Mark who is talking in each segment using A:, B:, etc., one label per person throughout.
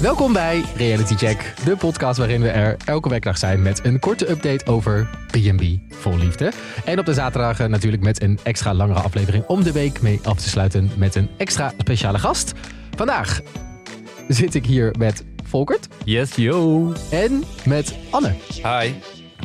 A: Welkom bij Reality Check, de podcast waarin we er elke werkdag zijn met een korte update over B&B vol liefde. En op de zaterdag eh, natuurlijk met een extra langere aflevering om de week mee af te sluiten met een extra speciale gast. Vandaag zit ik hier met Volkert
B: Yes, yo.
A: en met Anne.
C: Hi.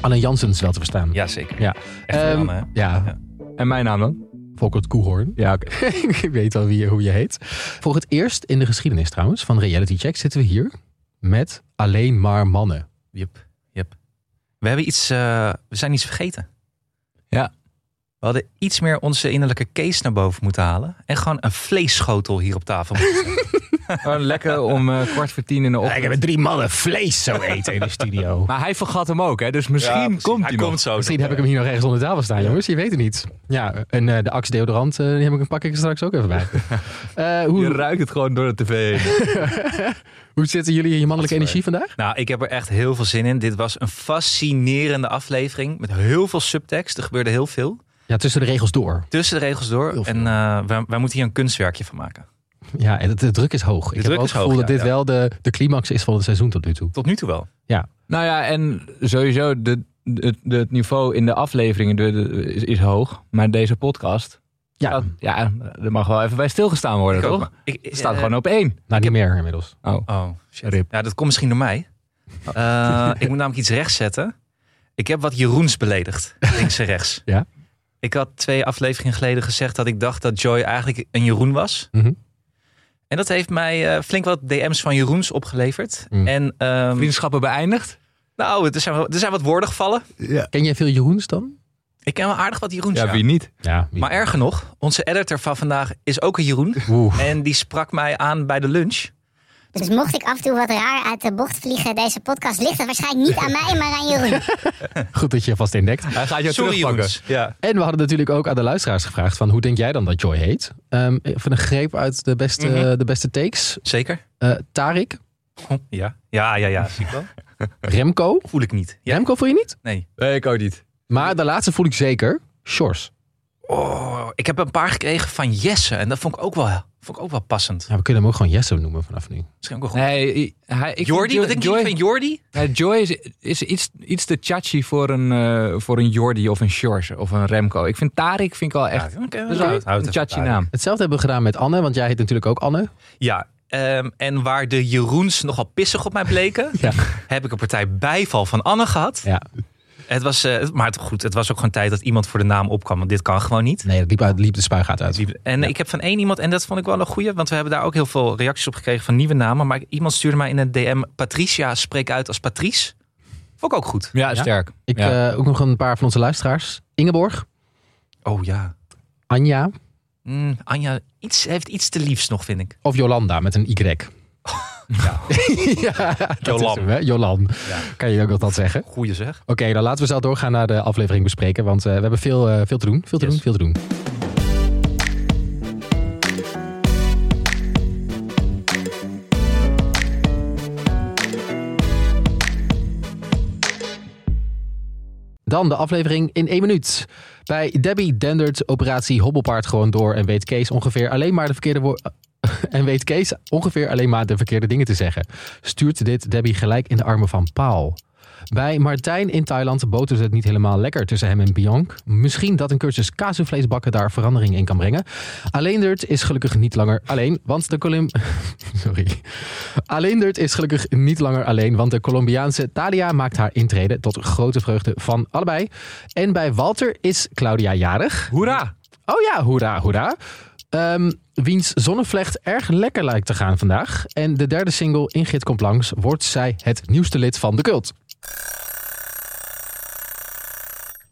A: Anne Janssens wel te verstaan.
C: Jazeker.
A: Ja.
C: Echt een
A: Ehm,
C: Anne, hè?
A: ja,
C: Ja.
B: En mijn naam dan?
A: Volkert Koehoorn.
B: Ja, oké.
A: ik weet al wie, je- hoe je heet. Voor het eerst in de geschiedenis trouwens van Reality Check zitten we hier met alleen maar mannen.
C: Yep. Yep. We hebben iets, eh, we zijn iets vergeten.
B: Ja.
C: We hadden iets meer onze innerlijke case naar boven moeten halen. En gewoon een vleesschotel hier op tafel. moeten zetten.
B: Gewoon lekker om eh, kwart voor tien in
C: Oh.
B: de ochtend.
A: met drie mannen vlees zo eten in de studio.
B: Maar hij vergat hem ook, hè? Dus misschien
C: Ja,
B: komt hij,
C: hij
B: nog.
C: komt zo.
A: Misschien heb ik hem hier nog ergens onder tafel staan, jongens. Je weet het niet. Ja, en eh, de Axe deodorant, eh, die heb ik, een pak ik er straks ook even bij. Eh,
B: Je
A: hoe,
B: ruikt het gewoon door de tv. heen.
A: hoe zitten jullie in je mannelijke
C: Dat is
A: energie vandaag?
C: Nou, ik heb er echt heel veel zin in. Dit was een fascinerende aflevering met heel veel subtekst. Er gebeurde heel veel.
A: Ja, tussen de regels door.
C: Tussen de regels
A: Heel
C: door.
A: veel.
C: En eh, wij, wij moeten hier een kunstwerkje van maken.
A: Ja, en de, de druk is hoog. ik heb
C: druk
A: ook
C: is
A: het gevoel
C: hoog,
A: dat
C: ja,
A: dit
C: ja.
A: wel de, de climax is van het seizoen tot nu toe.
C: Tot nu toe wel.
B: nou ja, en sowieso, de, de, de- het niveau in de afleveringen de- de- is, is hoog. Maar deze podcast,
A: Ja,
B: dat, ja, er mag wel even bij stilgestaan worden,
C: Ik ook,
B: toch?
C: maar ik-
B: Het staat
C: eh,
B: gewoon op één.
A: nou niet meer inmiddels.
C: Oh, shit.
B: Rip.
C: Ja, dat komt misschien door mij. Eh, ik moet namelijk iets rechtzetten. Ik heb wat Jeroens beledigd, links en rechts.
A: Ja.
C: Ik had twee afleveringen geleden gezegd dat ik dacht dat Joy eigenlijk een Jeroen was.
A: Mhm.
C: En dat heeft mij eh, flink wat DM's van Jeroens opgeleverd.
A: Mm.
C: En ehm,
B: Vriendschappen beëindigd.
C: nou, er zijn, wel- er zijn wat woorden gevallen.
A: Ken jij veel Jeroens dan?
C: Ik ken wel aardig wat Jeroens. ja.
B: Ja, wie niet?
A: Ja. wie-
C: Maar erger nog, onze editor van vandaag is ook een Jeroen.
A: Oeh.
C: En die sprak mij aan bij de lunch.
D: Dus mocht ik af en toe wat raar uit de bocht vliegen in deze podcast, ligt het waarschijnlijk niet aan mij, maar aan Jeroen.
A: Goed dat je je vast ontdekt.
B: Hij gaat jou
C: Sorry
B: terugpakken.
C: Jeroens. Ja.
A: En we hadden natuurlijk ook aan de luisteraars gevraagd van hoe denk jij dan dat Joy heet? Ehm, even een greep uit de beste,
C: Mhm.
A: de beste takes.
C: Zeker? Oh,
A: Eh, Tarik,
C: Ja. Ja, ja, ja. Zie ik wel.
A: Remco.
C: Voel ik niet. Ja?
A: Remco voel je niet?
C: Nee.
B: Nee, ik ook niet.
A: Maar de laatste voel ik zeker. Shores.
C: Oh, ik heb een paar gekregen van Jesse. En dat vond ik ook wel, vond ik ook wel passend.
A: Ja, we kunnen hem ook gewoon Jesse noemen vanaf nu.
C: Misschien ook wel goed.
B: Nee, hij, ik
C: Jordi,
B: vind
C: wat denk
B: Joy-
C: je van Jordi?
B: Ja, Joy is, is iets, iets te chachi voor een, eh, voor een Jordi of een Sjors of een Remco. Ik vind Tarik vind ik wel echt dat is wel een chachi naam.
A: Hetzelfde hebben we gedaan met Anne, want jij heet natuurlijk ook Anne.
C: Ja, ehm, en waar de Jeroens nogal pissig op mij bleken,
A: Ja.
C: heb ik een partij bijval van Anne gehad.
A: Ja.
C: Het was, eh, maar het, goed, het was ook gewoon tijd dat iemand voor de naam opkwam, want dit kan gewoon niet.
A: Nee, dat liep, uit, liep de spuigaat uit.
C: En ik heb van één iemand, en dat vond ik wel een goeie, want we hebben daar ook heel veel reacties op gekregen van nieuwe namen. Maar iemand stuurde mij in een DM, Patricia, spreek uit als Patrice. Vond ik ook goed.
B: Ja,
A: Ja?
B: sterk.
A: Ik
B: Ja.
A: eh, ook nog een paar van onze luisteraars. Ingeborg,
C: Oh ja.
A: Anja
C: Mm, Anja iets, heeft iets te liefs nog, vind ik.
A: of Jolanda met een Y.
C: Ja.
A: ja, dat is
C: Jolan.
A: hem, hè? Jolan.
C: Ja.
A: Kan je ook nog dat zeggen?
C: Goeie zeg.
A: Oké, dan laten we zo doorgaan naar de aflevering bespreken. Want eh, we hebben veel, eh, veel te doen. Veel te
C: Yes.
A: doen, veel te doen. Dan de aflevering in één minuut. Bij Debbie Dendert operatie Hobbelpaard gewoon door en weet Kees ongeveer alleen maar de verkeerde wo- en weet Kees ongeveer alleen maar de verkeerde dingen te zeggen. Stuurt dit Debbie gelijk in de armen van Paul. Bij Martijn in Thailand botert het niet helemaal lekker tussen hem en Bianc. Misschien dat een cursus kaasvlees bakken daar verandering in kan brengen. Alleendert is gelukkig niet langer alleen, want de Colum... Sorry. Alleendert is gelukkig niet langer alleen, want de Colombiaanse Thalia maakt haar intrede tot grote vreugde van allebei. En bij Walter is Claudia jarig.
B: Hoera!
A: Oh ja, hoera, hoera. Ehm, wiens zonnevlecht erg lekker lijkt te gaan vandaag. En de derde single, Ingrid komt langs, wordt zij het nieuwste lid van de cult.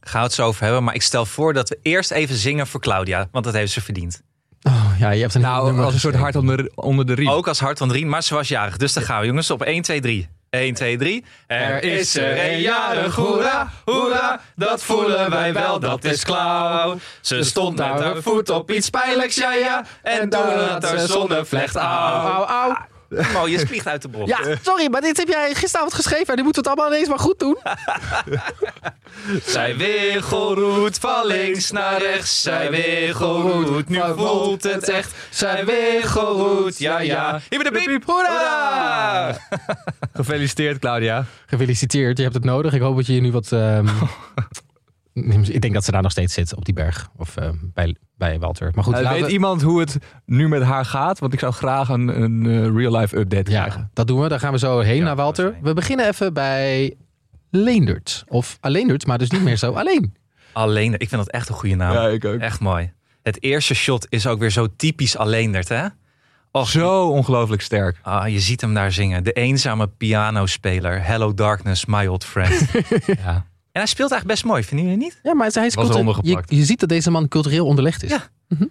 C: Gaan we het zo over hebben, maar ik stel voor dat we eerst even zingen voor Claudia, want dat heeft ze verdiend.
A: Oh, ja, je hebt een heel
B: Nou,
A: nummer
B: als een soort hart
A: geschreven.
B: onder, de- onder de riem.
C: Ook als hart van Rien, maar ze was jarig. Dus dan gaan we jongens op 1, 2, 3. 1, 2, 3. Er is er een jarig, hoera, hoera, dat voelen wij wel, dat is Klauw. Ze stond met haar voet op iets pijnlijks, ja ja, en toen had haar zonnevlecht
A: Au,
C: aan.
A: au, au.
C: Mo, je spiegt uit de bocht.
A: Ja, sorry, maar dit heb jij gisteravond geschreven en nu moeten we het allemaal ineens maar goed doen.
C: Zij wiggelroet van links naar rechts. Zij wiggelroet, nu voelt
A: nou,
C: het echt. Zij wiggelroet, ja ja. Hier bij de piep, hoera!
B: Gefeliciteerd, Claudia.
A: Gefeliciteerd, je hebt het nodig. Ik hoop dat je je nu wat... ehm, Ik denk dat ze daar nog steeds zit, op die berg. Of ehm, bij, bij Walter. Maar goed,
B: Eh,
A: laten
B: weet
A: we-
B: iemand hoe het nu met haar gaat? Want ik zou graag een, een eh, real-life update krijgen.
A: Ja, dat doen we. Daar gaan we zo heen naar Walter.
C: zijn.
A: We beginnen even bij Leendert. Of Alleendert, maar dus niet meer zo alleen.
C: Alleen, ik vind dat echt een goede naam.
B: ik ook.
C: Echt mooi. Het eerste shot is ook weer zo typisch Alleendert, hè? Och,
B: Zo ongelooflijk sterk.
C: Ah, je ziet hem daar zingen. De eenzame pianospeler. Hello darkness, my old friend. ja. En hij speelt eigenlijk best mooi, vinden jullie niet?
A: Ja, maar hij is
B: Was
A: cultu-
B: eronder
A: je,
B: geplakt.
A: je ziet dat deze man cultureel onderlegd is.
C: Ja.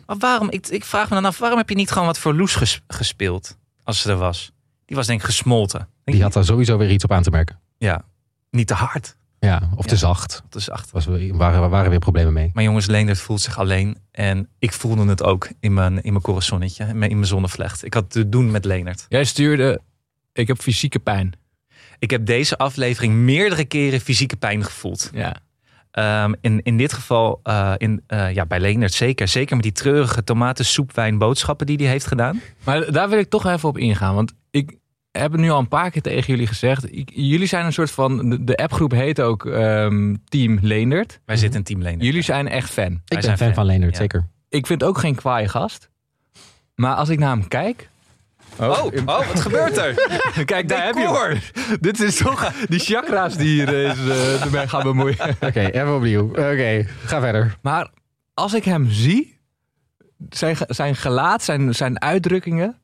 C: Maar waarom, ik, ik vraag me dan af, waarom heb je niet gewoon wat voor Loes ges- gespeeld? Als ze er was. Die was denk ik gesmolten. Denk je
A: Die had daar sowieso weer iets op aan te merken.
C: Ja, niet te hard.
A: Ja, of te
C: Ja.
A: zacht.
C: Dat is achter.
A: Was, we- waren, waren weer problemen mee.
C: Maar jongens, Leendert voelt zich alleen. En ik voelde het ook in mijn, in mijn corazonnetje, in mijn, in mijn zonnevlecht. Ik had te doen met Leendert.
B: Jij stuurde, ik heb fysieke pijn.
C: Ik heb deze aflevering meerdere keren fysieke pijn gevoeld.
B: Ja.
C: Ehm, in, in dit geval eh, in, eh, ja, bij Leendert zeker. Zeker met die treurige tomatensoepwijn boodschappen die hij heeft gedaan.
B: Maar daar wil ik toch even op ingaan. Want ik heb het nu al een paar keer tegen jullie gezegd. Ik- jullie zijn een soort van, de, de appgroep heet ook ehm, Team Leendert.
C: Wij zitten in team Leendert.
B: Jullie zijn echt fan.
A: Ik ben
C: zijn
A: fan,
C: fan.
A: van Leendert,
C: Ja.
A: zeker.
B: Ik vind ook geen kwaaie gast. Maar als ik naar hem kijk...
C: Oh, oh, wat gebeurt er?
B: Kijk, daar heb
C: Decor.
B: je hem. Dit is toch die chakra's die hier eens, eh, ermee gaan bemoeien.
A: Oké, even opnieuw. Oké, ga verder.
B: Maar als ik hem zie, zijn, ge- zijn gelaat, zijn, zijn uitdrukkingen...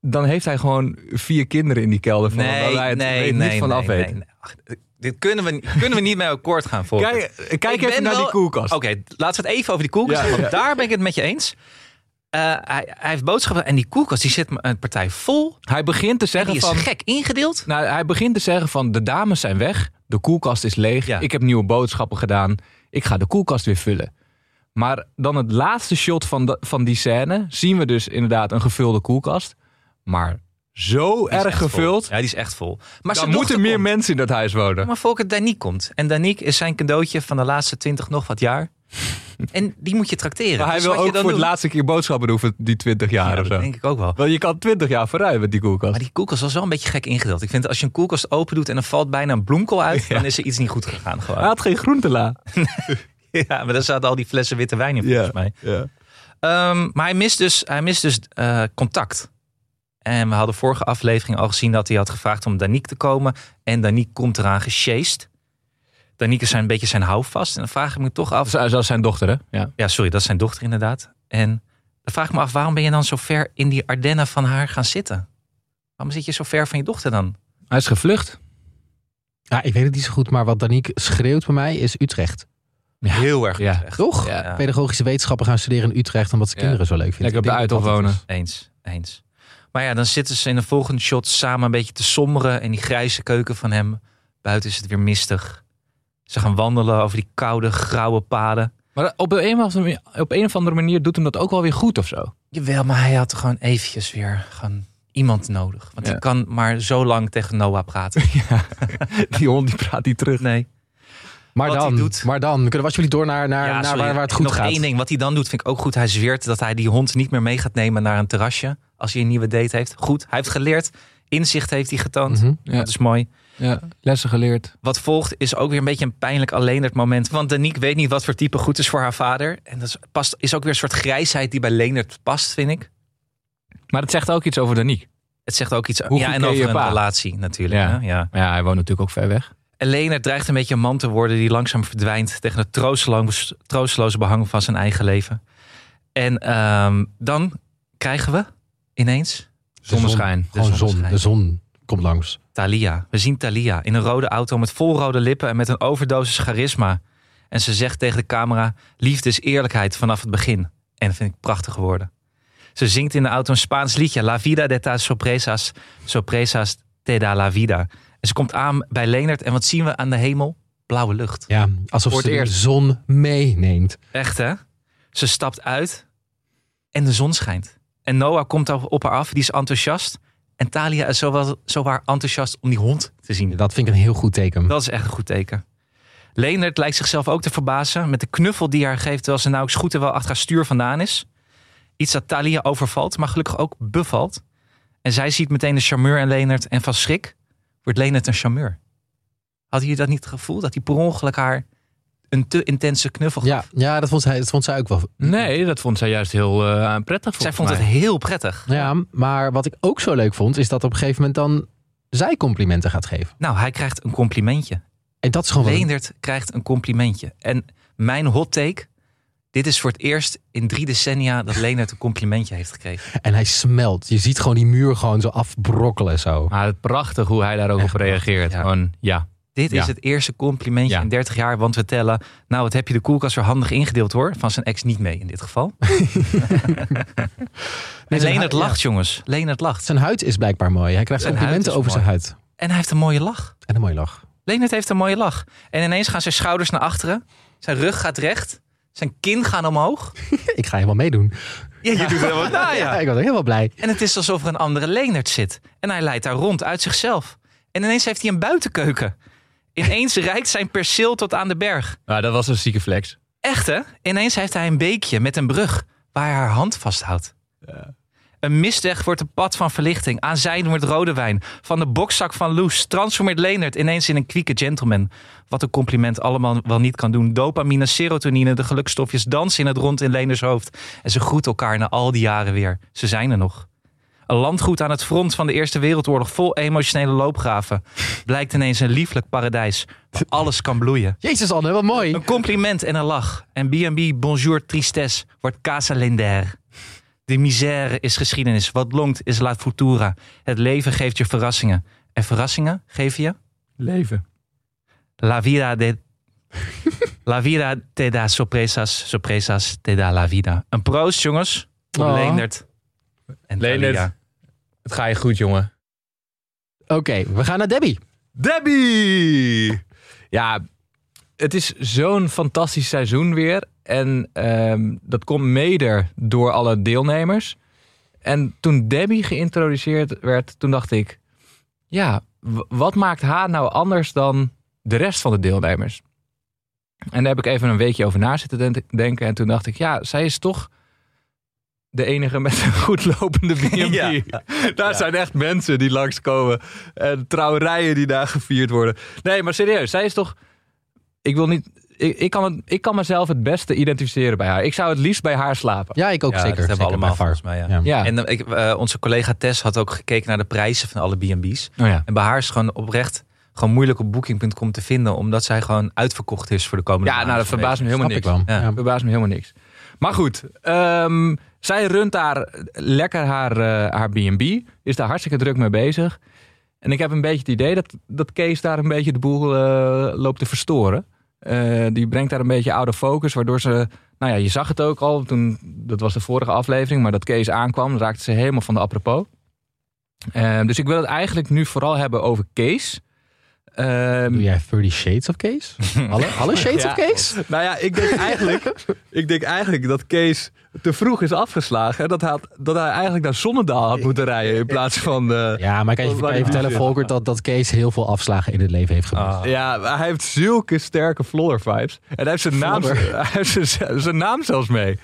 B: dan heeft hij gewoon vier kinderen in die kelder van... waar wij het weet niet van af weten.
C: nee, nee. Ach, dit kunnen we, kunnen we niet mee akkoord gaan volgen.
B: Kijk, eh,
C: Ik
B: kijk even
C: ben
B: naar die
C: wel- Oh,
B: koelkast.
C: Oké, laten we het even over die koelkast
B: Ja,
C: hebben.
B: ja.
C: Want daar ben ik het met je eens. Eh, hij, hij heeft boodschappen en die koelkast die zit me een partij vol.
B: Hij begint te zeggen
C: Die is
B: van...
C: gek ingedeeld.
B: Nou, hij begint te zeggen van de dames zijn weg, de koelkast is leeg,
C: Ja.
B: ik heb nieuwe boodschappen gedaan, ik ga de koelkast weer vullen. Maar dan het laatste shot van, de- van die scène zien we dus inderdaad een gevulde koelkast, maar zo
C: Die
B: erg
C: is echt vol.
B: gevuld.
C: Ja, die is echt vol. Maar
B: Dan
C: ze
B: moeten meer mensen in dat huis wonen.
C: Maar Volker Daniek komt. En Daniek is zijn cadeautje van de laatste twintig nog wat jaar. En die moet je trakteren.
B: Maar hij
C: Dus
B: wil
C: wat je
B: ook
C: dan
B: voor het
C: doet-
B: laatste keer boodschappen doen voor die 20 jaar
C: Ja,
B: of
C: dat
B: zo.
C: denk ik ook wel.
B: Want je kan 20 jaar vooruit met die koelkast.
C: Maar die koelkast was wel een beetje gek ingedeeld. Ik vind als je een koelkast open doet en er valt bijna een bloemkool uit, dan is er iets niet goed gegaan gewoon.
B: Hij had geen groentela.
C: Ja, maar daar zaten al die flessen witte wijn in volgens mij.
B: Ja.
C: Ehm, maar hij mist dus, hij mist dus eh, contact. En we hadden vorige aflevering al gezien dat hij had gevraagd om Daniek te komen. En Daniek komt eraan gesjeest. Daniek is zijn, een beetje zijn houvast. En dan vraag ik me toch af.
B: Zo- Zoals zijn dochter, hè? Ja.
C: Ja, sorry, dat is zijn dochter inderdaad. En dan vraag ik me af, waarom ben je dan zo ver in die Ardennen van haar gaan zitten? Waarom zit je zo ver van je dochter dan?
B: Hij is gevlucht.
A: Ja, ik weet het niet zo goed, maar wat Danique schreeuwt bij mij is Utrecht.
C: Heel erg.
B: Ja.
A: Toch?
B: Ja.
C: Ja.
A: Pedagogische wetenschappen gaan studeren in Utrecht omdat ze
B: Ja.
A: kinderen zo leuk vinden.
B: Lekker op de
A: Ik denk dat
B: Uithof
A: dat het
B: wonen.
A: is.
C: Eens, eens. Maar ja, dan zitten ze in de volgende shot samen een beetje te somberen. En die grijze keuken van hem. Buiten is het weer mistig. Ze gaan wandelen over die koude, grauwe paden.
B: Maar op een, of andere, op een of andere manier doet hem dat ook wel weer goed of zo.
C: Jawel, maar hij had gewoon eventjes weer gewoon iemand nodig. Want
B: Ja.
C: hij kan maar zo lang tegen Noah praten.
B: Die hond die praat niet terug.
C: Nee.
A: Maar
C: Wat hij
A: dan,
C: doet.
A: maar dan kunnen we alsjeblieft door naar, naar, naar
C: sorry.
A: waar, waar het
C: En
A: goed
C: nog
A: gaat.
C: één ding, wat hij dan doet, vind ik ook goed. Hij zweert dat hij die hond niet meer mee gaat nemen naar een terrasje. Als hij een nieuwe date heeft. Goed, hij heeft geleerd. Inzicht heeft hij getoond.
A: Mhm.
B: Ja.
C: Dat is mooi.
B: Ja, lessen geleerd.
C: Wat volgt is ook weer een beetje een pijnlijk alleen het moment. Want Danique weet niet wat voor type goed is voor haar vader. En dat is, past, is ook weer een soort grijsheid die bij Leendert past, vind ik.
B: Maar dat zegt ook iets over Daniek.
C: Het zegt ook iets
B: Hoe
C: ja,
B: goed
C: en
B: ken je
C: over een
B: pa?
C: relatie natuurlijk.
B: Ja.
C: hè, Ja.
B: Maar ja, hij woont natuurlijk ook ver weg.
C: En Leendert dreigt een beetje een man te worden die langzaam verdwijnt tegen het troosteloos, troosteloze behang van zijn eigen leven. En ehm, dan krijgen we ineens zonneschijn. De
A: Gewoon zon.
C: zonneschijn.
A: De zon komt langs.
C: Thalia. We zien Thalia in een rode auto met vol rode lippen en met een overdosis charisma. En ze zegt tegen de camera: Liefde is eerlijkheid vanaf het begin. En dat vind ik prachtige woorden. Ze zingt in de auto een Spaans liedje: La vida de tas sorpresas, sorpresas te da la vida. En ze komt aan bij Leonard en wat zien we aan de hemel? Blauwe lucht.
A: Ja, alsof
B: Voor
A: ze
B: het
A: de
B: eerst.
A: zon meeneemt.
C: Echt hè? Ze stapt uit en de zon schijnt. En Noah komt op op haar af, die is enthousiast. En Talia is zowel, zowaar enthousiast om die hond te zien.
A: Dat vind ik een heel goed teken.
C: Dat is echt een goed teken. Leendert lijkt zichzelf ook te verbazen met de knuffel die hij haar geeft... terwijl ze nauwelijks goed en wel achter haar stuur vandaan is. Iets dat Talia overvalt, maar gelukkig ook bevalt. En zij ziet meteen de charmeur en Leendert en van schrik wordt Leendert een charmeur. Had je dat niet het gevoel dat hij per ongeluk haar een te intense knuffel gaf?
A: Ja, ja dat, vond zij, dat vond zij ook wel.
B: Nee, dat vond zij juist heel eh, prettig.
C: Zij
B: volgens
C: vond het
B: mij.
C: heel prettig.
A: Ja, maar wat ik ook zo leuk vond, is dat op een gegeven moment dan zij complimenten gaat geven.
C: Nou, hij krijgt een complimentje.
A: En dat is gewoon wel-
C: Leendert krijgt een complimentje. En mijn hot take. Dit is voor het eerst in drie decennia dat Leendert een complimentje heeft gekregen.
A: En hij smelt. Je ziet gewoon die muur gewoon zo afbrokkelen zo.
B: Maar het prachtig hoe hij daarover
A: Echt prachtig,
B: reageert.
C: ja.
B: Gewoon, ja.
C: Dit is
B: Ja.
C: het eerste complimentje
B: Ja.
C: in 30 jaar, want we tellen. Nou, wat heb je de koelkast er handig ingedeeld hoor? Van zijn ex niet mee in dit geval. en
A: zijn
C: Leendert
A: hu-
C: lacht, jongens. Leendert lacht.
A: Zijn huid is blijkbaar mooi. Hij krijgt
C: Zijn
A: complimenten
C: huid
A: over
C: is
A: zijn huid.
C: En hij heeft een mooie lach.
A: En een mooie lach.
C: Leendert heeft een mooie lach. En ineens gaan zijn schouders naar achteren. Zijn rug gaat recht. Zijn kin gaan omhoog.
A: Ik ga helemaal meedoen.
C: Ja, je doet wel wat na, ja.
A: ik was helemaal blij.
C: En het is alsof er een andere Leendert zit. En hij leidt daar rond uit zichzelf. En ineens heeft hij een buitenkeuken. Ineens reikt zijn perceel tot aan de berg.
B: Nou, dat was een zieke flex.
C: Echt hè? Ineens heeft hij een beekje met een brug waar hij haar hand vasthoudt. Een misweg wordt een pad van verlichting. Aan zijn wordt rode wijn. Van de bokzak van Loes transformeert Leendert ineens in een kwieke gentleman. Wat een compliment allemaal wel niet kan doen. Dopamine, serotonine, de gelukstofjes dansen in het rond in Leenderts hoofd. En ze groeten elkaar na al die jaren weer. Ze zijn er nog. Een landgoed aan het front van de Eerste Wereldoorlog vol emotionele loopgraven. Blijkt ineens een lieflijk paradijs. Waar alles kan bloeien.
A: Jezus Anne, wat mooi.
C: Een compliment en een lach. En B&B Bonjour Tristesse wordt Casa Lender. De misère is geschiedenis. Wat longt is la futura. Het leven geeft je verrassingen. En verrassingen geven je
B: Leven.
C: la vida de... La vida te da sorpresas, sorpresas te da la vida. Een proost, jongens. Op
A: Oh.
C: Leendert. En
B: Leendert.
C: Thalia.
B: Het ga je goed, jongen.
A: Oké, we gaan naar Debbie.
B: Debbie! Ja, het is zo'n fantastisch seizoen weer. En ehm, dat komt mede door alle deelnemers. En toen Debbie geïntroduceerd werd, toen dacht ik... Ja, w- wat maakt haar nou anders dan de rest van de deelnemers? En daar heb ik even een weekje over na zitten den- denken. En toen dacht ik, ja, zij is toch de enige met een goed lopende B&B.
C: Ja.
B: Daar zijn echt mensen die langskomen. En Eh, trouwerijen die daar gevierd worden. Nee, maar serieus, zij is toch... Ik wil niet... Ik, ik, kan, het, ik kan mezelf het beste identificeren bij haar. Ik zou het liefst bij haar slapen.
A: Ja, ik ook
C: Ja,
A: zeker.
C: dat hebben we
A: Zeker,
C: allemaal
A: by far.
C: volgens mij, ja.
A: Ja.
B: Ja.
C: En eh, ik, eh, onze collega Tess had ook gekeken naar de prijzen van alle B&B's.
B: oh ja.
C: En bij haar is gewoon oprecht gewoon moeilijk op booking.com te vinden. Omdat zij gewoon uitverkocht is voor de komende
B: ja, nou,
C: maanden.
B: dat verbaast me helemaal
A: Snap
B: niks.
A: ik wel.
C: Ja.
A: Ja.
B: Verbaast me helemaal niks. Maar goed, ehm, zij runt daar lekker haar, eh, haar B&B. Is daar hartstikke druk mee bezig. En ik heb een beetje het idee dat, dat Kees daar een beetje de boel eh, loopt te verstoren. Eh, die brengt daar een beetje out of focus, waardoor ze... Nou ja, je zag het ook al, toen, dat was de vorige aflevering... maar dat Kees aankwam, raakte ze helemaal van de apropos. Eh, dus ik wil het eigenlijk nu vooral hebben over Kees. Ehm,
A: Doe jij 30 Shades of Kees? Alle, alle Shades
B: Ja.
A: of Kees?
B: Nou ja, ik denk eigenlijk, ik denk eigenlijk dat Kees te vroeg is afgeslagen. En dat hij, had- dat hij eigenlijk naar Zonnedaal had moeten rijden in plaats van... eh,
A: Ja, maar kan je, kan je vertellen, Volkert, dat, dat Kees heel veel afslagen in het leven heeft gemaakt.
C: Ah.
B: ja, maar hij heeft zulke sterke Flodder vibes. En hij heeft zijn naam, hij heeft zijn, zijn naam zelfs mee.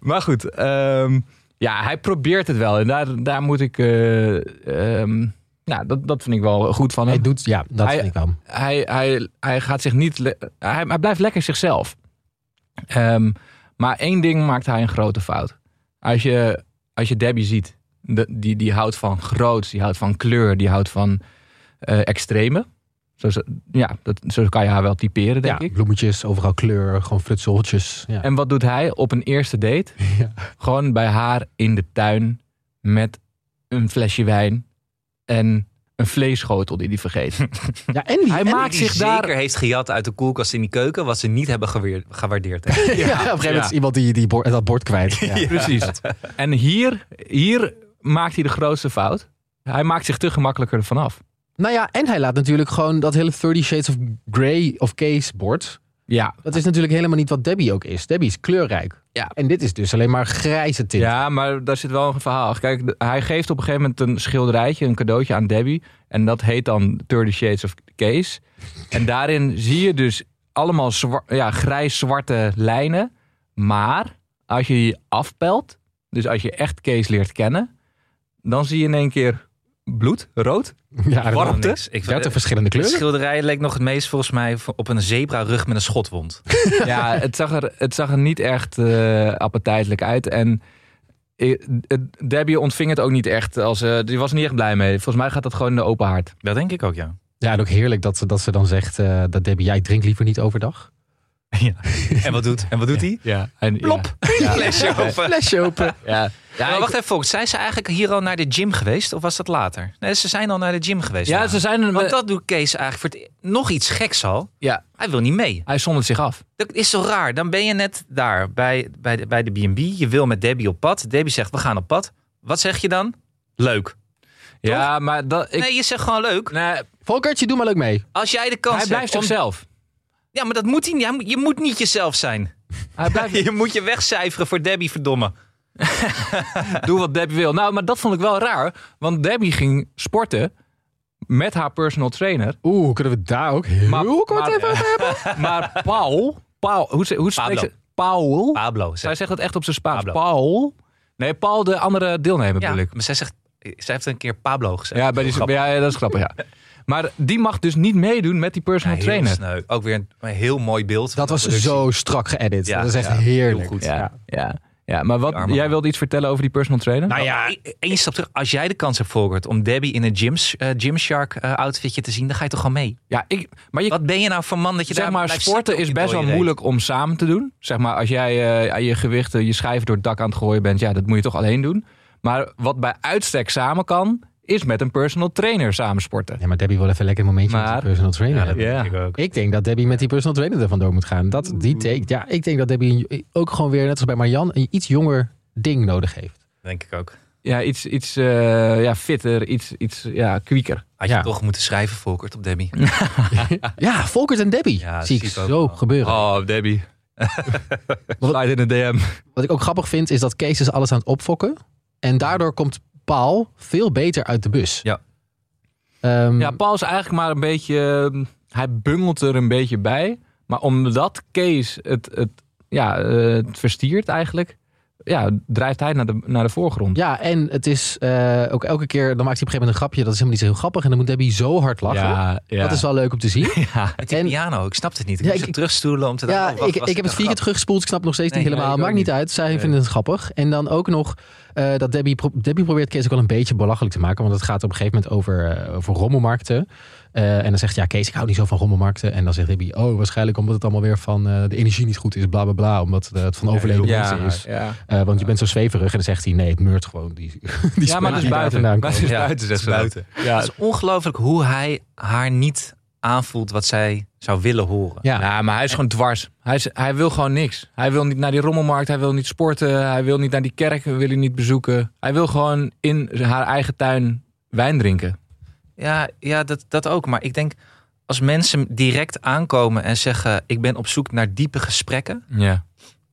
B: maar goed, ehm, ja, hij probeert het wel. En daar, daar moet ik... eh, ehm, nou, dat, dat vind ik wel goed van hem.
A: Hij doet, ja, dat
B: Hij-
A: vind ik wel.
B: hij, hij, hij gaat zich niet. le- Hij, hij blijft lekker zichzelf. Ehm, maar één ding maakt hij een grote fout. Als je, als je Debbie ziet, de- die, die houdt van groots, die houdt van kleur, die houdt van eh, extreme. Zo, zo- ja, dat, zo kan je haar wel typeren, denk
A: Ja,
B: ik.
A: bloemetjes, overal kleur, gewoon flutseltjes. Ja.
B: En wat doet hij op een eerste date?
A: Ja.
B: Gewoon bij haar in de tuin met een flesje wijn en een vleesschotel die hij vergeet.
A: Ja, en die,
B: Hij
A: en
B: maakt
C: Die
B: zich
C: zeker
B: daar
C: heeft gejat uit de koelkast in die keuken. Wat ze niet hebben geweer- gewaardeerd. hè.
A: die- ja, op een gegeven moment
B: Ja.
A: is iemand die, die bord- dat bord kwijt. Ja.
B: Precies. En hier, hier maakt hij de grootste fout. Hij maakt zich te gemakkelijk ervan af.
A: Nou ja, en hij laat natuurlijk gewoon dat hele 30 Shades of Grey of Kees bord
B: Ja.
A: Dat is natuurlijk helemaal niet wat Debbie ook is. Debbie is kleurrijk.
B: Ja.
A: En dit is dus alleen maar grijze tint.
B: ja, maar daar zit wel een verhaal. Kijk, de- hij geeft op een gegeven moment een schilderijtje, een cadeautje aan Debbie. En dat heet dan 30 Shades of Case. En daarin zie je dus allemaal zwa- ja, grijs-zwarte lijnen. Maar als je die afpelt, dus als je echt Case leert kennen, dan zie je in één keer bloed, rood.
A: Ja, dat-
B: Warm. Warmte?
C: Niks. Ik,
A: dertig verschillende
C: het
A: kleuren.
C: schilderij leek nog het meest volgens mij op een zebra-rug met een schotwond.
B: ja, het zag er, het zag er niet echt eh, appetijtelijk uit. En eh, eh, Debbie ontving het ook niet echt. Als, eh, die was er niet echt blij mee. Volgens mij gaat dat gewoon in de open haard.
C: Dat denk ik ook, ja.
A: Ja, en ook heerlijk dat ze, dat ze dan zegt eh, dat Debbie, jij drinkt liever niet overdag.
C: En wat doet, en wat doet hij?
B: Ja. En,
C: Plop. Flesje open.
A: Flesje open.
B: Ja, ja. ja,
C: maar
B: ik-
C: wacht even, Fox. Zijn ze eigenlijk hier al naar de gym geweest? Of was dat later? Nee, ze zijn al naar de gym geweest.
B: ja,
C: daarna.
B: ze zijn...
C: Want dat doet Kees eigenlijk voor het e- nog iets geks al.
B: ja,
C: Hij wil niet mee.
B: hij zondert zich af.
C: Dat is zo raar. Dan ben je net daar bij, bij de bij de B&B. je wil met Debbie op pad. Debbie zegt, we gaan op pad. Wat zeg je dan? Leuk.
B: Ja, maar dat... Ik,
C: Nee, je zegt gewoon leuk.
B: nee,
A: Volkertje, doe maar leuk mee.
C: Als jij de kans
B: hij blijft
C: hebt om-
B: zichzelf.
C: Ja, maar dat moet hij niet. Hij moet- Je moet niet jezelf zijn.
B: Hij blijft...
C: Je moet je wegcijferen voor Debbie, verdomme.
B: Doe wat Debbie wil. Nou, maar dat vond ik wel raar. Want Debbie ging sporten met haar personal trainer.
A: Oeh, kunnen we daar ook heel
B: Maar,
A: kort
B: maar,
A: even over hebben?
B: Maar Paul... Paul hoe, ze- hoe spreekt
C: Pablo.
B: ze... Paul...
C: Pablo.
B: Zij
C: Zegt.
B: zegt het echt op zijn Spaans.
C: Pablo.
B: Paul. Nee, Paul, de andere deelnemer
C: Ja,
B: bedoel ik.
C: maar zij zegt... Zij heeft een keer Pablo gezegd.
B: Ja, bij die,
C: Grappig.
B: ja, ja, dat is grappig, ja. Maar die mag dus niet meedoen met die personal
C: Ja, heel
B: trainer.
C: sneu. Ook weer een, een heel mooi beeld. van
A: Dat
C: de
A: was
C: productie.
A: zo strak geëdit.
C: Ja,
A: dat is echt
C: ja,
A: heerlijk.
C: heel goed.
A: Ja.
B: Ja, ja, ja. maar wat,
C: Die arme
B: jij
C: man.
B: wilde iets vertellen over die personal trainer?
A: Nou ja,
C: E- Eén stap terug. Als jij de kans hebt, Volkert, om Debbie in een gyms, eh, Gymshark eh, outfitje te zien, dan ga je toch gewoon mee?
B: ja, ik, maar je,
C: Wat ben je nou voor man dat je
B: zeg
C: daar
B: maar,
C: blijft
B: sporten
C: zitten op
B: is
C: die
B: best wel
C: dode reet?
B: moeilijk om samen te doen. Zeg maar, als jij eh, aan je gewichten, je schijven door het dak aan het gooien bent, ja, dat moet je toch alleen doen. Maar wat bij uitstek samen kan, is met een personal trainer samen sporten.
A: Ja, maar Debbie wil even lekker een momentje met
B: Maar-
A: die personal trainer.
C: Ja, dat
A: hebben.
B: Ja.
C: denk ik ook.
A: Ik denk dat Debbie met die personal trainer er vandoor moet gaan. Dat, die take, ja, ik denk dat Debbie ook gewoon weer, net als bij Marian, een iets jonger ding nodig heeft.
C: Denk ik ook.
B: Ja, iets, iets eh, ja, fitter, iets, iets ja, kwieker.
C: Had je
A: Ja.
C: toch moeten schrijven, Volkert, op Debbie.
A: Ja, Volkert en Debbie
C: Ja, dat
A: zie ik
C: zie ik ook
A: zo
C: wel.
A: gebeuren.
B: Oh, Debbie. Slide in de DM.
A: Wat ik ook grappig vind, is dat Kees is alles aan het opfokken. En daardoor komt Paul veel beter uit de bus.
C: Ja.
A: Ehm,
B: Ja, Paul is eigenlijk maar een beetje... ehm, Hij bungelt er een beetje bij. Maar omdat Kees het, het, ja, eh, het verstiert eigenlijk... Ja, drijft hij naar de, naar de voorgrond.
A: ja, en het is eh, ook elke keer, dan maakt hij op een gegeven moment een grapje. Dat is helemaal niet zo heel grappig. En dan moet Debbie zo hard lachen.
B: ja, ja.
A: Dat is wel leuk om te zien.
B: Ja.
C: Met die
A: En-
C: piano, ik snap het niet.
A: Ja,
C: Ik moest
A: ik-
C: hem terugstoelen om te
A: Ja,
C: denken, oh, wacht,
A: ik,
C: was
A: ik heb het
C: dit
A: vier
C: een
A: keer
C: grap?
A: teruggespoeld. Ik snap het nog steeds
C: Nee,
A: niet helemaal.
B: nee, ik
A: Maakt
B: ook
A: niet uit. Zij
B: Nee.
A: vinden het grappig. En dan ook nog eh, dat Debbie, pro- Debbie probeert Kees ook wel een beetje belachelijk te maken. Want het gaat op een gegeven moment over, eh, over rommelmarkten. Eh, en dan zegt ja, Kees, ik hou niet zo van rommelmarkten. En dan zegt Debbie, oh, waarschijnlijk omdat het allemaal weer van eh, de energie niet goed is. Bla bla bla. Omdat eh, het van overleden
B: Ja,
A: mensen is.
B: ja.
A: Eh, want je bent zo zweverig. En dan zegt hij, nee, het meurt gewoon. Die, die
B: ja, maar
A: spullen
B: dat
A: die
B: is
A: daar
B: buiten.
A: vandaan
B: Dat
A: komen.
B: is
C: Ja,
B: buiten, zegt
C: het
B: ze
C: is
B: dan.
C: buiten.
B: Ja.
C: Het is ongelooflijk hoe hij haar niet aanvoelt wat zij zou willen horen.
A: Ja.
B: Ja, maar hij is gewoon dwars. Hij, is, hij wil gewoon niks. Hij wil niet naar die rommelmarkt, hij wil niet sporten, hij wil niet naar die kerk, wil hij niet bezoeken. Hij wil gewoon in haar eigen tuin wijn drinken.
C: Ja, ja dat, dat ook. Maar ik denk, als mensen direct aankomen en zeggen... ik ben op zoek naar diepe gesprekken...
B: Ja.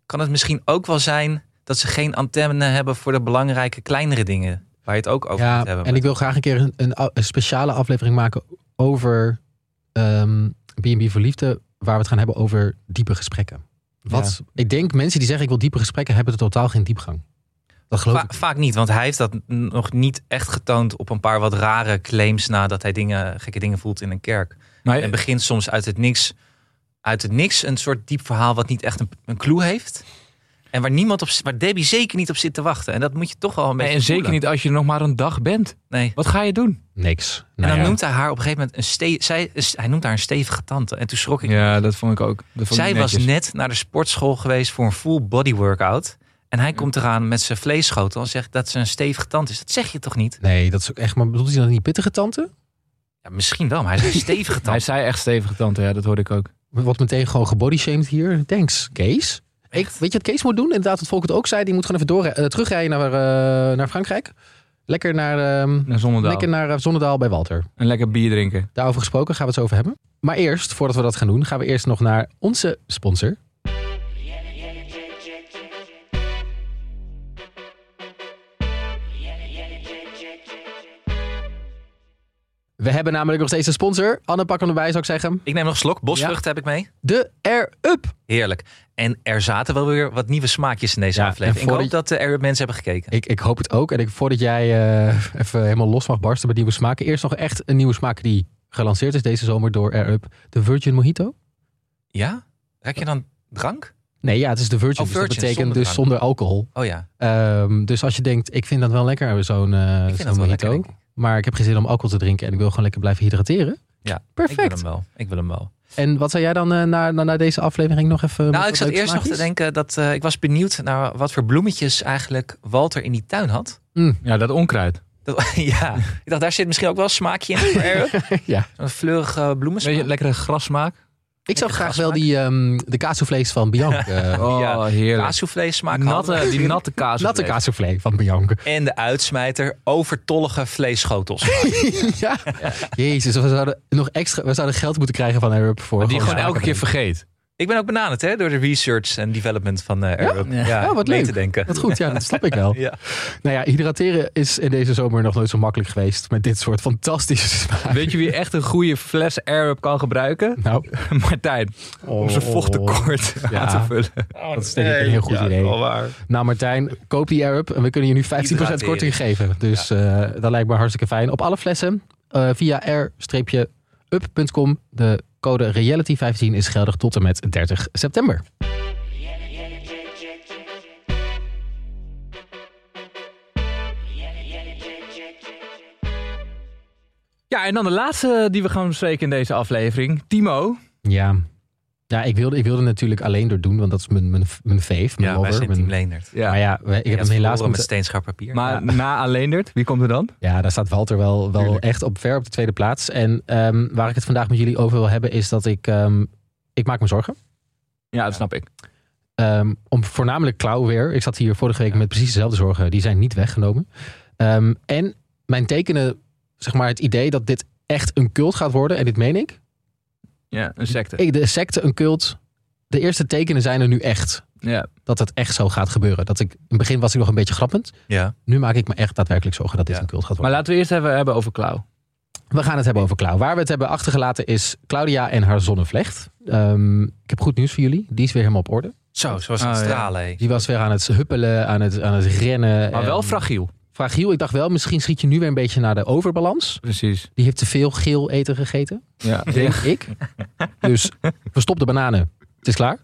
C: kan het misschien ook wel zijn dat ze geen antenne hebben... voor de belangrijke kleinere dingen waar je het ook over moet
A: Ja,
C: hebben.
A: en ik wil graag een keer een, een, au- een speciale aflevering maken over ehm, B&B voor Liefde. Waar we het gaan hebben over diepe gesprekken. Wat, Ik denk mensen die zeggen ik wil diepe gesprekken hebben totaal geen diepgang. Dat geloof
C: Va-
A: ik.
C: vaak niet, want hij heeft dat n- nog niet echt getoond... op een paar wat rare claims nadat hij dingen, gekke dingen voelt in een kerk.
B: Maar,
C: En begint soms uit het niks, uit het niks een soort diep verhaal... wat niet echt een, een clue heeft... En waar, niemand op, z- waar Debbie zeker niet op zit te wachten. En dat moet je toch wel een beetje
B: en zeker Nou
C: voelen.
B: niet als je er nog maar een dag bent.
C: Nee.
B: Wat ga je doen?
A: Niks.
C: En
A: Nou
C: dan
A: ja.
C: noemt hij haar op een gegeven moment een stevige... Zij, is- hij noemt haar een stevige tante. En toen schrok ik.
B: Ja, dat vond ik ook. Dat vond
C: zij
B: ik
C: was
B: netjes.
C: net naar de sportschool geweest voor een full body workout. En hij komt eraan met zijn vleesschotel en zegt dat ze een stevige tante is. Dat zeg je toch niet?
A: Nee, dat is ook echt. Maar bedoelt hij dan niet pittige tante?
C: Ja, misschien wel, maar hij is een stevige
B: Hij
C: tante.
B: zei echt stevige tante, ja, dat hoorde ik ook.
A: Wat meteen gewoon gebodyshamed hier. Thanks, Kees. Ik,
C: Echt?
A: weet je wat Kees moet doen? Inderdaad, wat Volk het ook zei. Die moet gewoon even door, eh, terugrijden naar, eh, naar Frankrijk. Lekker naar, ehm,
B: Naar Zonnedaal.
A: lekker naar eh, Zonnedaal bij Walter.
B: Een lekker bier drinken.
A: Daarover gesproken gaan we het zo over hebben. Maar eerst, voordat we dat gaan doen, gaan we eerst nog naar onze sponsor. We hebben namelijk nog steeds een sponsor. Anne, pak hem erbij, zou ik zeggen.
C: Ik neem nog een slok. Bosvruchten heb ik mee.
A: De Air Up.
C: Heerlijk. En er zaten wel weer wat nieuwe smaakjes in deze
A: Ja, en
C: aflevering. Ik
A: voor
C: hoop dat de er mensen hebben gekeken.
A: Ik, ik hoop het ook. En ik, voordat jij eh, even helemaal los mag barsten bij nieuwe smaken. Eerst nog echt een nieuwe smaak die gelanceerd is deze zomer door Air Up. De Virgin Mojito.
C: Ja? Raak je dan drank?
A: Nee, ja, het is de Virgin.
C: Oh,
A: dus dat
C: Virgin,
A: betekent
C: zonder
A: dus
C: drank.
A: zonder alcohol.
C: Oh ja.
A: Ehm, dus als je denkt, ik vind dat wel lekker, zo'n eh
C: Ik
A: zo'n
C: vind dat wel
A: mojito.
C: lekker. denk ik.
A: maar ik heb geen zin om alcohol te drinken en ik wil gewoon lekker blijven hydrateren.
C: Ja, Ik wil
A: Perfect.
C: hem wel. Ik wil hem wel.
A: En wat zou jij dan eh, na, na, na deze aflevering nog even... met
C: Nou, ik
A: wat
C: zat
A: leuke
C: eerst nog te
A: smaakjes?
C: denken dat eh, ik was benieuwd naar wat voor bloemetjes eigenlijk Walter in die tuin had.
B: Ja, dat onkruid.
C: Dat- ja, ik dacht, daar zit misschien ook wel een smaakje in. voor Erwin.
A: Ja.
C: Een fleurige bloemensmaak.
B: Weet je, lekkere grassmaak.
A: Ik zou
C: lekker
A: graag wel
C: smaak.
A: die, ehm de kaassoufflés van Bianca. eh,
B: Oh,
C: Ja,
B: heerlijk.
C: Kaassoufflé smaak hadden
B: Natte,
C: we.
B: die natte kaas.
A: natte kaassoufflé van Bianca.
C: En de uitsmijter overtollige vleesschotels.
A: ja. Jezus, we zouden nog extra... We zouden geld moeten krijgen van Arab voor...
B: Die je gewoon
A: smaken
B: elke keer
A: brengen.
B: vergeet.
C: ik ben ook benaderd hè, door de research en development van eh
A: Ja?
C: Erwin.
A: Ja, wat
C: mee
A: leuk.
C: te denken.
A: Dat is goed, ja, dat snap ik wel.
C: Ja.
A: Nou ja, hydrateren is in deze zomer nog nooit zo makkelijk geweest met dit soort fantastische smaak.
B: Weet je wie echt een goede fles Air-Up kan gebruiken?
A: Nou,
B: Martijn. Om zijn vochttekort aan te vullen.
A: Dat is denk ik een heel goed idee. Nou Martijn, koop die Air Up en we kunnen je nu 15%
C: Hydrateren.
A: korting geven. Dus eh, dat lijkt me hartstikke fijn. Op alle flessen eh, via air-up.com. De code reality15 is geldig tot en met 30 september.
B: Ja, en dan de laatste die we gaan bespreken in deze aflevering. Timo.
A: Ja, ja ik, wilde, ik wilde natuurlijk alleen door doen, want dat is mijn, mijn, mijn fave, mijn
C: Ja, wij
A: lover.
C: zijn
A: mijn-
C: team Leendert. Ja.
A: Maar ja, we- ik heb
C: het
A: hem helaas
C: verloren met
A: moeten...
C: steenschaar papier.
B: Maar na Alleendert, wie komt er dan?
A: Ja, daar staat Walter wel, wel
B: Tuurlijk.
A: echt op ver op de tweede plaats. En ehm, waar ik het vandaag met jullie over wil hebben, is dat ik... ehm, ik maak me zorgen.
B: Ja, dat snap ik.
A: Ehm, om voornamelijk klauw weer. Ik zat hier vorige week
B: Ja.
A: met precies dezelfde zorgen. Die zijn niet weggenomen. Ehm, en mijn tekenen, zeg maar het idee dat dit echt een cult gaat worden. En dit meen ik.
B: Ja, een secte.
A: ik de secte een cult. De eerste tekenen zijn er nu echt.
B: Ja.
A: Dat het echt zo gaat gebeuren. Dat ik, in het begin was ik nog een beetje grappend.
C: ja.
A: Nu maak ik me echt daadwerkelijk zorgen dat dit
C: Ja.
A: een cult gaat
B: Maar
A: worden.
B: laten we eerst even hebben over Klauw.
A: We gaan het hebben over Klauw. Waar we het hebben achtergelaten is Claudia en haar zonnevlecht. Ehm, ik heb goed nieuws voor jullie. Die is weer helemaal op orde.
C: Zo, zoals
B: Oh,
C: het
B: ja.
C: stralen. hè.
A: Die was weer aan het huppelen, aan het, aan het rennen.
B: Maar wel
A: En-
B: fragiel.
A: fragiel. Ik dacht wel, misschien schiet je nu weer een beetje naar de overbalans.
B: Precies.
A: Die heeft te veel geel eten gegeten,
B: Ja.
A: denk ik. Dus verstop de bananen. Het is klaar.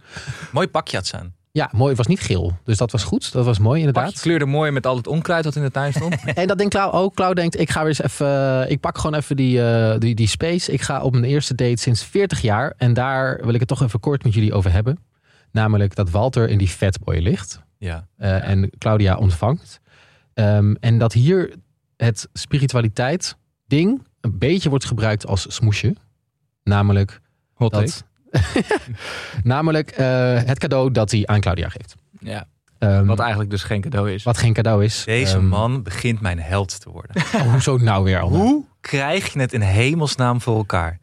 C: Mooi pakje had ze aan.
A: Ja, mooi. Het was niet geel. Dus dat was goed. Dat was mooi,
B: Pakje
A: inderdaad.
B: kleurde mooi met al het onkruid dat in de tuin stond.
A: En dat denkt Klauw ook. Klauw denkt, ik ga weer eens even... eh, Ik pak gewoon even die, eh, die, die space. Ik ga op mijn eerste date sinds 40 jaar. En daar wil ik het toch even kort met jullie over hebben. Namelijk dat Walter in die fatboy ligt.
C: Ja.
A: eh, en Claudia ontvangt. Ehm, en dat hier het spiritualiteit ding een beetje wordt gebruikt als smoesje. Namelijk,
B: Hot take.
A: dat, namelijk eh, het cadeau dat hij aan Claudia geeft.
B: Ja.
A: Ehm,
B: Wat
A: wat,
B: eigenlijk dus geen cadeau is.
A: geen cadeau is.
C: Deze
A: Ehm,
C: man begint mijn held te worden.
A: oh, hoezo nou weer al?
C: Hoe krijg je het in hemelsnaam voor elkaar?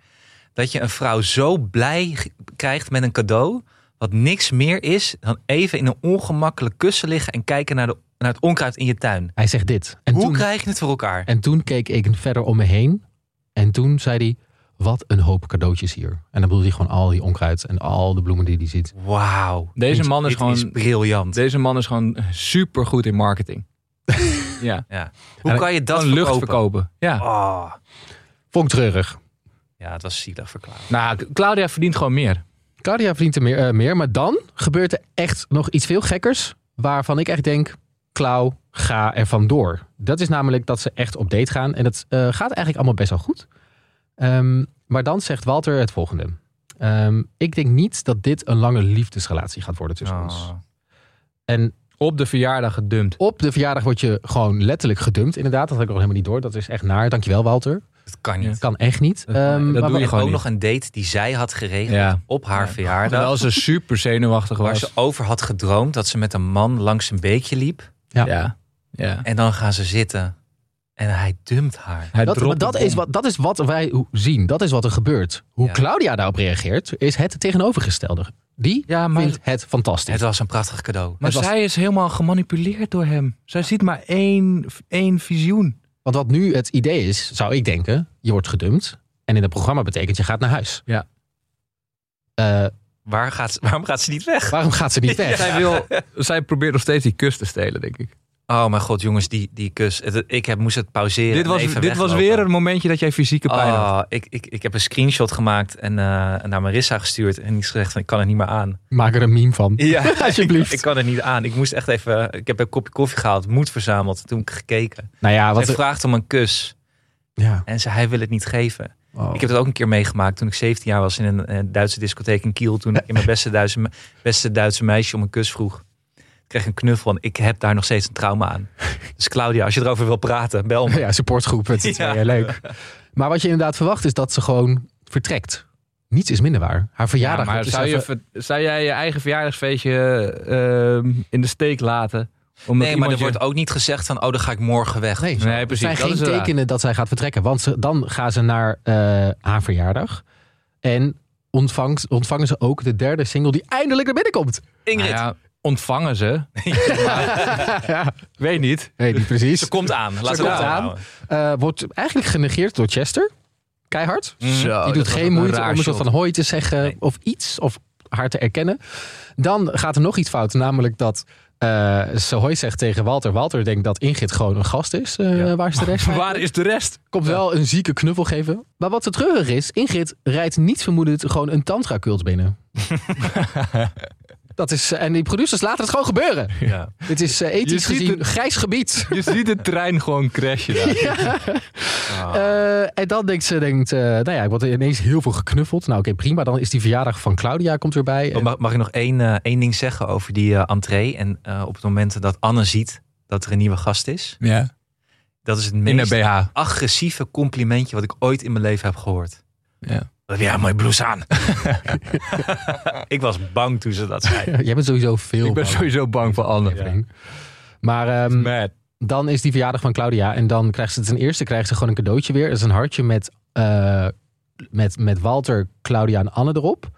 C: Dat je een vrouw zo blij g- krijgt met een cadeau, wat niks meer is dan even in een ongemakkelijk kussen liggen en kijken naar, de, naar het onkruid in je tuin.
A: Hij zegt dit. En
C: Hoe
A: toen,
C: krijg je het voor elkaar?
A: en toen keek ik verder om me heen. En toen zei hij, wat een hoop cadeautjes hier. En dan bedoelde hij gewoon al die onkruid en al de bloemen die hij ziet.
C: Wauw.
B: Deze man is
C: Dit is
B: gewoon,
C: briljant.
B: deze man is gewoon super goed in marketing. Ja.
C: Ja.
A: En
C: Hoe kan je dat
B: Gewoon lucht
C: verkopen?
B: verkopen. Ja.
C: Oh.
A: Vond ik treurig.
C: Ja, het was zielig verklaard.
B: Nou, Claudia verdient gewoon meer.
A: Claudia verdient er meer, eh, meer, maar dan gebeurt er echt nog iets veel gekkers. Waarvan ik echt denk, Klauw, ga er vandoor. Dat is namelijk dat ze echt op date gaan. En dat eh, gaat eigenlijk allemaal best wel goed. Ehm, maar dan zegt Walter het volgende. Ehm, ik denk niet dat dit een lange liefdesrelatie gaat worden
B: Dus
A: tussen
B: Ah.
A: ons.
C: Oh.
A: En
B: Op de verjaardag gedumpt.
A: op de verjaardag word je gewoon letterlijk gedumpt, inderdaad. Dat had ik nog helemaal niet door. Dat is echt naar. Dankjewel, Walter.
C: Dat kan niet.
A: Dat kan echt niet.
B: Dat kan-
A: Ehm,
B: dat
A: maar
B: doe
A: wa-
B: je
C: En ook
B: gewoon
C: nog een date die zij had geregeld
B: Ja.
C: op haar verjaardag.
B: Terwijl ze super zenuwachtig
C: Waar
B: was.
C: ze over had gedroomd dat ze met een man langs een beekje liep.
A: Ja.
B: Ja. ja.
C: En dan gaan ze zitten. En hij dumpt haar.
B: Hij
A: Dat, maar
B: dropt
A: dat,
B: de
A: is
B: bom.
A: wat, dat is wat wij ho- zien. Dat is wat er gebeurt. Hoe
C: Ja.
A: Claudia daarop reageert, is het tegenovergestelde. Die
B: Ja, maar,
A: vindt het fantastisch.
C: Het was een prachtig cadeau. Dus
B: maar
A: het was-
B: zij is helemaal gemanipuleerd door hem. Zij ziet maar één, één visioen.
A: Want wat nu het idee is, zou ik denken, je wordt gedumpt. En in het programma betekent je gaat naar huis.
B: Ja.
A: Eh,
C: Waar gaat, ze- waarom gaat ze niet weg?
A: waarom gaat ze niet weg?
B: Zij, wil, zij probeert nog steeds die kus te stelen, denk ik.
C: Oh mijn god, jongens, die, die kus. Het- ik heb, moest het pauzeren.
B: dit
C: en
B: was,
C: even
B: dit was
C: weglopen.
B: weer een momentje dat jij fysieke pijn had.
C: Oh, ik, ik, ik heb een screenshot gemaakt en eh, naar Marissa gestuurd. En die zegt, van, ik kan het niet meer aan.
A: Maak er een meme van.
C: Ja,
A: Alsjeblieft.
C: Ik kan het niet aan. Ik moest echt even... Ik heb een kopje koffie gehaald, moed verzameld. Toen heb ik gekeken.
A: Nou ja, wat...
C: Hij vraagt om een kus.
A: Ja.
C: En ze, hij wil het niet geven.
A: Oh.
C: Ik heb dat ook een keer meegemaakt toen ik 17 jaar was in een, eh, Duitse discotheek in Kiel. Toen ik in mijn beste Duitse, me- beste Duitse meisje om een kus vroeg. Ik kreeg een knuffel en ik heb daar nog steeds een trauma aan. Dus Claudia, als je erover wil praten, bel me.
A: Oh. Ja, supportgroep. Het is
C: Ja.
A: wel leuk. Maar wat je inderdaad verwacht is dat ze gewoon vertrekt. Niets is minder waar. Haar verjaardag.
B: Ja, maar
A: is
B: zou, je,
A: even-
B: ver- zou jij je eigen verjaardagsfeestje ehm, in de steek laten? Omdat
C: Nee, maar er
B: iemand
C: wordt
B: je-
C: ook niet gezegd van, oh, dan ga ik morgen weg.
A: Nee,
B: Nee,
A: er
B: precies,
A: zijn
B: dat
A: geen
B: is eh, het raar.
A: tekenen dat zij gaat vertrekken. Want ze- dan gaan ze naar eh, haar verjaardag. En ontvangt, ontvangen ze ook de derde single die eindelijk naar binnen komt.
C: Ingrid,
B: Nou ja, ontvangen ze. Weet niet.
A: Nee, niet precies.
C: ze komt aan. Laten we
A: komt
C: dat
A: aan.
C: houden.
A: Eh, wordt eigenlijk genegeerd door Chester. Keihard.
B: Oh,
A: Die doet geen moeite om een soort van hooi te zeggen
C: Nee.
A: of iets, of haar te erkennen. Dan gaat er nog iets fout, namelijk dat eh, ze hoi zegt tegen Walter. Walter denkt dat Ingrid gewoon een gast is, eh,
B: Ja.
A: waar is de rest?
B: Waar is de rest?
A: Komt wel een zieke knuffel geven. Maar wat zo treurig is, Ingrid rijdt niet vermoedend gewoon een tantra-cult binnen. dat is, eh, en die producers laten het gewoon gebeuren.
C: Ja.
A: Dit is eh,
B: Je
A: ethisch
B: ziet
A: gezien
B: het-
A: grijs gebied.
B: Je ziet de trein gewoon crashen. daar.
A: Eh, en dan denkt ze, denkt, eh, nou ja, ik word ineens heel veel geknuffeld. Nou oké, prima. Dan is die verjaardag van Claudia komt erbij.
C: Oh, Mag, mag ik nog één, eh, één ding zeggen over die eh, entree? En eh, op het moment dat Anne ziet dat er een nieuwe gast is.
B: Ja.
C: Dat is het
B: In een
C: meest
B: BH.
C: agressieve complimentje wat ik ooit in mijn leven heb gehoord.
B: Ja.
C: Wat heb jij een mooie blouse aan? ik was bang toen ze dat zei.
A: Jij bent sowieso veel.
B: Ik ben
A: bang.
B: sowieso bang Mm. voor Anne.
A: Ja. Maar ehm,
B: Mad.
A: dan is die verjaardag van Claudia. En dan krijgt ze ten eerste krijgt ze gewoon een cadeautje weer. Dat is een hartje met, eh, met, met Walter, Claudia en Anne erop.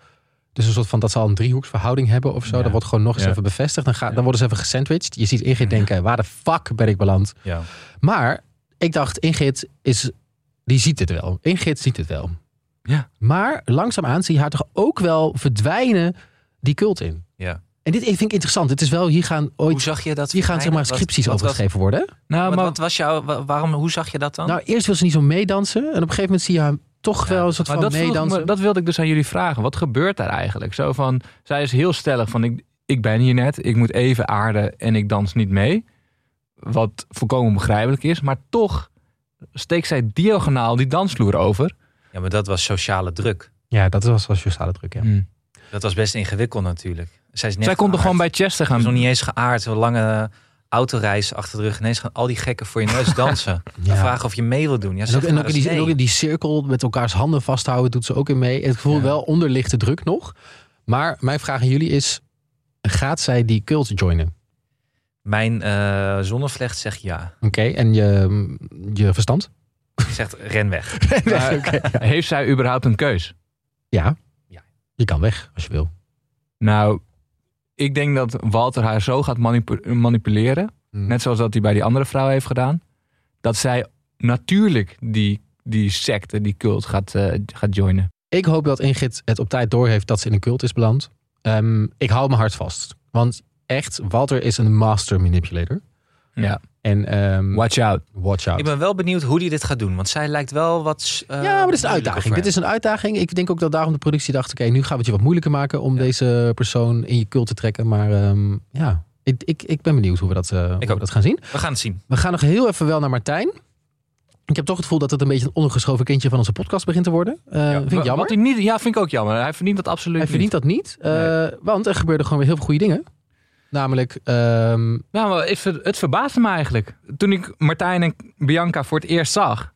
A: Dus een soort van dat ze al een driehoeksverhouding hebben of zo.
B: Ja.
A: Dat wordt gewoon nog eens
B: Ja.
A: even bevestigd. Dan, ga, dan worden ze even gesandwiched. Je ziet Ingrid denken, waar de fuck ben ik beland?
C: Ja.
A: Maar ik dacht, Ingrid is, die ziet het wel. Ingrid ziet het wel.
B: Ja.
A: Maar langzaamaan zie je haar toch ook wel verdwijnen die cult in.
C: Ja.
A: En dit vind ik interessant. Dit is wel, hier gaan
C: Hoe
A: ooit...
C: zag je dat?
A: Hier gaan zeg maar
C: Wat-
A: scripties
C: wat was-
A: overgeschreven worden.
B: Nou,
C: wat-
B: maar,
C: wat was jouw, wa- waarom, hoe zag je dat dan?
A: Nou, eerst wil ze niet zo meedansen. En op een gegeven moment zie je haar toch
C: Ja,
A: wel een soort
B: maar
A: van
B: dat, vroeg ik
A: meedansen.
B: me- dat wilde ik dus aan jullie vragen. Wat gebeurt daar eigenlijk? Zo van, zij is heel stellig van, ik, ik ben hier net. Ik moet even aarden en ik dans niet mee. Wat volkomen begrijpelijk is. Maar toch steekt zij diagonaal die dansvloer over.
C: ja, maar dat was sociale druk.
A: Ja, dat was wel sociale druk, ja.
C: Dat was best ingewikkeld natuurlijk. Zij, is Mm. net
B: Zij kon er
C: geaard.
B: gewoon bij Chester
C: Ze is nog
B: gaan.
C: niet eens geaard. Een lange autoreis achter de rug. Ineens gaan al die gekken voor je neus dansen. En vragen of je mee wil doen.
A: En
C: Ja,
A: ook,
C: zeg
A: en
C: maar
A: ook in
C: eens
A: die, en ook
C: nee.
A: in die cirkel met elkaars handen vasthouden doet ze ook in mee. Het gevoel
B: Ja.
A: wel onderlichte druk nog. Maar mijn vraag aan jullie is, gaat zij die cult joinen?
C: Mijn eh zonnevlecht zegt ja.
A: Oké, en je, je verstand?
C: Die Zegt ren weg.
B: Maar Heeft zij überhaupt een keus?
A: Ja.
C: Ja.
A: Je kan weg, als je wil.
B: Nou, ik denk dat Walter haar zo gaat manipu- manipuleren.
A: Hmm.
B: Net zoals dat hij bij die andere vrouw heeft gedaan. Dat zij natuurlijk die, die secte, die cult gaat, eh, gaat joinen.
A: Ik hoop dat Ingrid het op tijd doorheeft dat ze in een cult is beland. Ehm, ik hou mijn hart vast. Want echt, Walter is een master manipulator.
B: Ja.
A: En ehm,
B: Watch out.
A: watch out.
C: Ik ben wel benieuwd hoe die dit gaat doen. Want zij lijkt wel wat... eh,
A: Ja, maar dit is een
C: moeilijker voor
A: uitdaging.
C: hem.
A: Dit is een uitdaging. Ik denk ook dat daarom de productie dacht: oké, nu gaan we het je wat moeilijker maken om deze persoon in je cult te trekken. Maar ehm, ja, ik, ik, ik ben benieuwd hoe we, dat, eh, hoe we
C: ook.
A: dat gaan zien.
C: We gaan het zien.
A: We gaan nog heel even wel naar Martijn. Ik heb toch het gevoel dat het een beetje een ondergeschoven kindje van onze podcast begint te worden. Eh, vind ik
B: Wa-
A: jammer.
B: Wat hij niet, ja, vind ik ook jammer. Hij verdient dat absoluut
A: Hij verdient dat niet, eh, want er gebeurden gewoon weer heel veel goede dingen. Namelijk, ehm,
B: niet. Nou, maar ik ver- het verbaasde me eigenlijk. Toen ik Martijn en Bianca voor het eerst zag...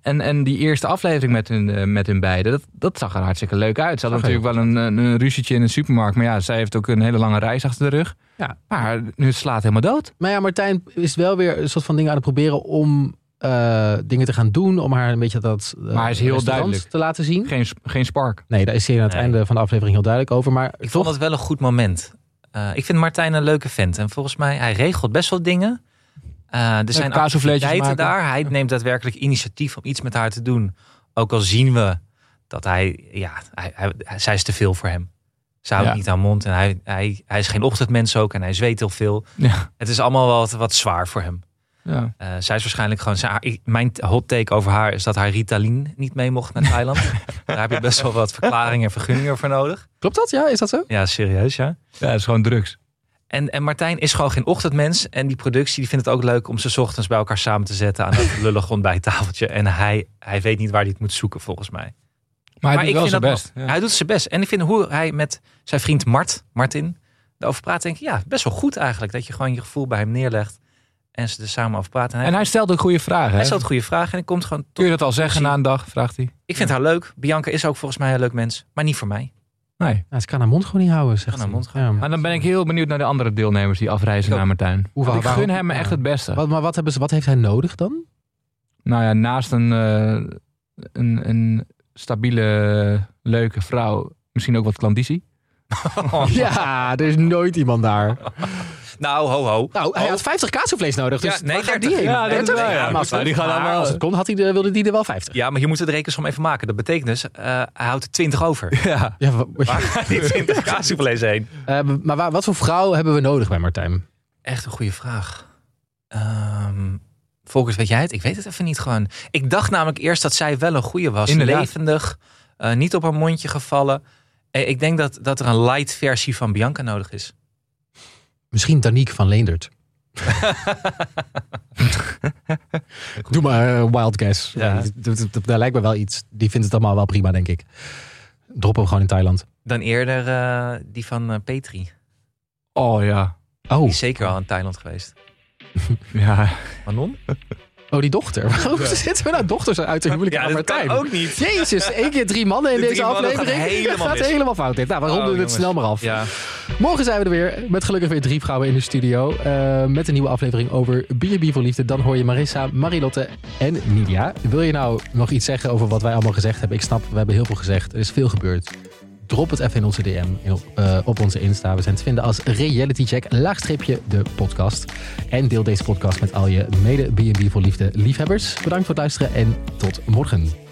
B: En, en die eerste aflevering met hun, eh, met hun beiden, dat, dat zag er hartstikke leuk uit. Ze hadden
A: Zag er
B: natuurlijk wel een, een, een ruzietje in een supermarkt. Maar ja, zij heeft ook een hele lange reis achter de rug.
A: Ja.
B: Maar nu slaat helemaal dood.
A: nou maar ja, Martijn is wel weer een soort van dingen aan het proberen om eh, dingen te gaan doen. Om haar een beetje dat eh,
B: Maar hij is heel
A: restaurant
B: duidelijk.
A: te laten zien.
B: Geen, geen spark.
A: Nee, daar is hij aan het
C: Nee.
A: einde van de aflevering heel duidelijk over. Maar
C: Ik
A: toch,
C: vond het wel een goed moment. Eh, ik vind Martijn een leuke vent. En volgens mij, hij regelt best wel dingen. Eh, er zijn
B: kaassoefleetjes
C: activiteiten
B: maken.
C: daar. Hij neemt daadwerkelijk initiatief om iets met haar te doen. Ook al zien we dat hij... Ja, hij, hij, hij- zij is te veel voor hem. Ze houdt
B: Ja.
C: niet aan mond. En hij, hij, hij is geen ochtendmens ook. En hij zweet heel veel.
B: Ja.
C: Het is allemaal wat, wat zwaar voor hem.
B: Ja.
C: Eh, zij is waarschijnlijk gewoon... zij- ik- mijn hot take over haar is dat haar Ritalin niet mee mocht naar Thailand. daar heb je best wel wat verklaringen en vergunningen voor nodig.
A: klopt dat? Ja, is dat zo?
C: Ja, serieus ja.
B: ja, dat is gewoon drugs.
C: En, en Martijn is gewoon geen ochtendmens. En die productie die vindt het ook leuk om ze 's ochtends bij elkaar samen te zetten aan een lullig ontbijttafeltje. En hij, hij weet niet waar hij het moet zoeken, volgens mij.
B: Maar hij doet wel
C: ik
B: zijn
C: vind dat
B: best.
C: wel-
B: Ja.
C: Hij doet zijn best. En ik vind hoe hij met zijn vriend Mart, Martin, daarover praat, denk ik, ja, best wel goed eigenlijk. Dat je gewoon je gevoel bij hem neerlegt en ze er samen over praten. En hij,
B: En hij stelt ook goede vragen.
C: hij
B: hè?
C: stelt goede vragen en hij komt gewoon
B: Kun
C: tot...
B: je dat al zeggen na een dag? Vraagt hij.
C: Ik vind haar leuk. Bianca is ook volgens mij een leuk mens, maar niet voor mij.
B: Nee.
A: Ja, ze kan haar mond gewoon niet houden, zegt
C: Kan haar
A: hij.
C: mond
A: Ja.
B: Maar dan ben ik heel benieuwd naar de andere deelnemers die afreizen
C: Ik ook.
B: naar Martijn.
A: Hoe-
B: Want ik
A: waarom-
B: gun hem
A: ja.
B: echt het beste.
A: Wat, maar wat, hebben ze, wat heeft hij nodig dan?
B: Nou ja, naast een, eh, een, een stabiele, leuke vrouw, misschien ook wat klandizie.
A: Ja, er is nooit iemand daar.
C: Nou, ho, ho.
A: Nou, hij
C: Oh.
A: had 50 kaasvlees nodig, dus
C: Ja, nee,
A: waar gaat die
C: 30.
A: heen?
B: Ja, dat is
A: 30?
B: waar, ja.
A: maar als,
B: Maar die gaan
A: maar
B: allemaal-
A: als het kon, had hij, de- wilde die er wel 50.
C: Ja, maar je moet het rekensom even maken. Dat betekent dus, eh, hij houdt er 20 over.
B: Ja.
A: Ja, wa-
C: Waar gaat die 20 kaassoeplees heen?
A: eh, maar wa- wat voor vrouw hebben we nodig bij Martijn?
C: Echt een goede vraag. Ehm Volkers, weet jij het? Ik weet het even niet gewoon. Ik dacht namelijk eerst dat zij wel een goede was.
B: Inderdaad.
C: Levendig, eh, niet op haar mondje gevallen. Eh, ik denk dat, dat er een light versie van Bianca nodig is.
A: Misschien Danique van Leendert. Doe maar eh, wild guess.
C: Ja.
A: Nee, dat- dat- dat- Daar lijkt me wel iets. Die vindt het allemaal wel prima, denk ik. Droppen we gewoon in Thailand.
C: Dan eerder eh, die van eh, Petri. Die
B: Oh ja.
A: Oh,
C: is zeker al in Thailand geweest.
B: Ja.
C: Manon?
A: oh die dochter. Waarom zitten we nou dochters uit de huwelijk aan Martijn?
C: ook niet.
A: Jezus, één keer drie mannen in
C: De
A: deze
C: drie mannen
A: aflevering.
C: gaan helemaal
A: dat gaat
C: mis.
A: helemaal fout. dit. Nou, we
C: Oh,
A: ronden het
C: jongens.
A: snel maar af.
C: Ja.
A: Morgen zijn we er weer met gelukkig weer drie vrouwen in de studio. eh, met een nieuwe aflevering over B&B voor Liefde. Dan hoor je Marissa, Marilotte en Nidia. Wil je nou nog iets zeggen over wat wij allemaal gezegd hebben? Ik snap, we hebben heel veel gezegd. Er is veel gebeurd. Drop het even in onze DM in- eh, op onze Insta. We zijn te vinden als Reality Check, laagstreepje de podcast. En deel deze podcast met al je mede B&B voor Liefde liefhebbers. Bedankt voor het luisteren en tot morgen.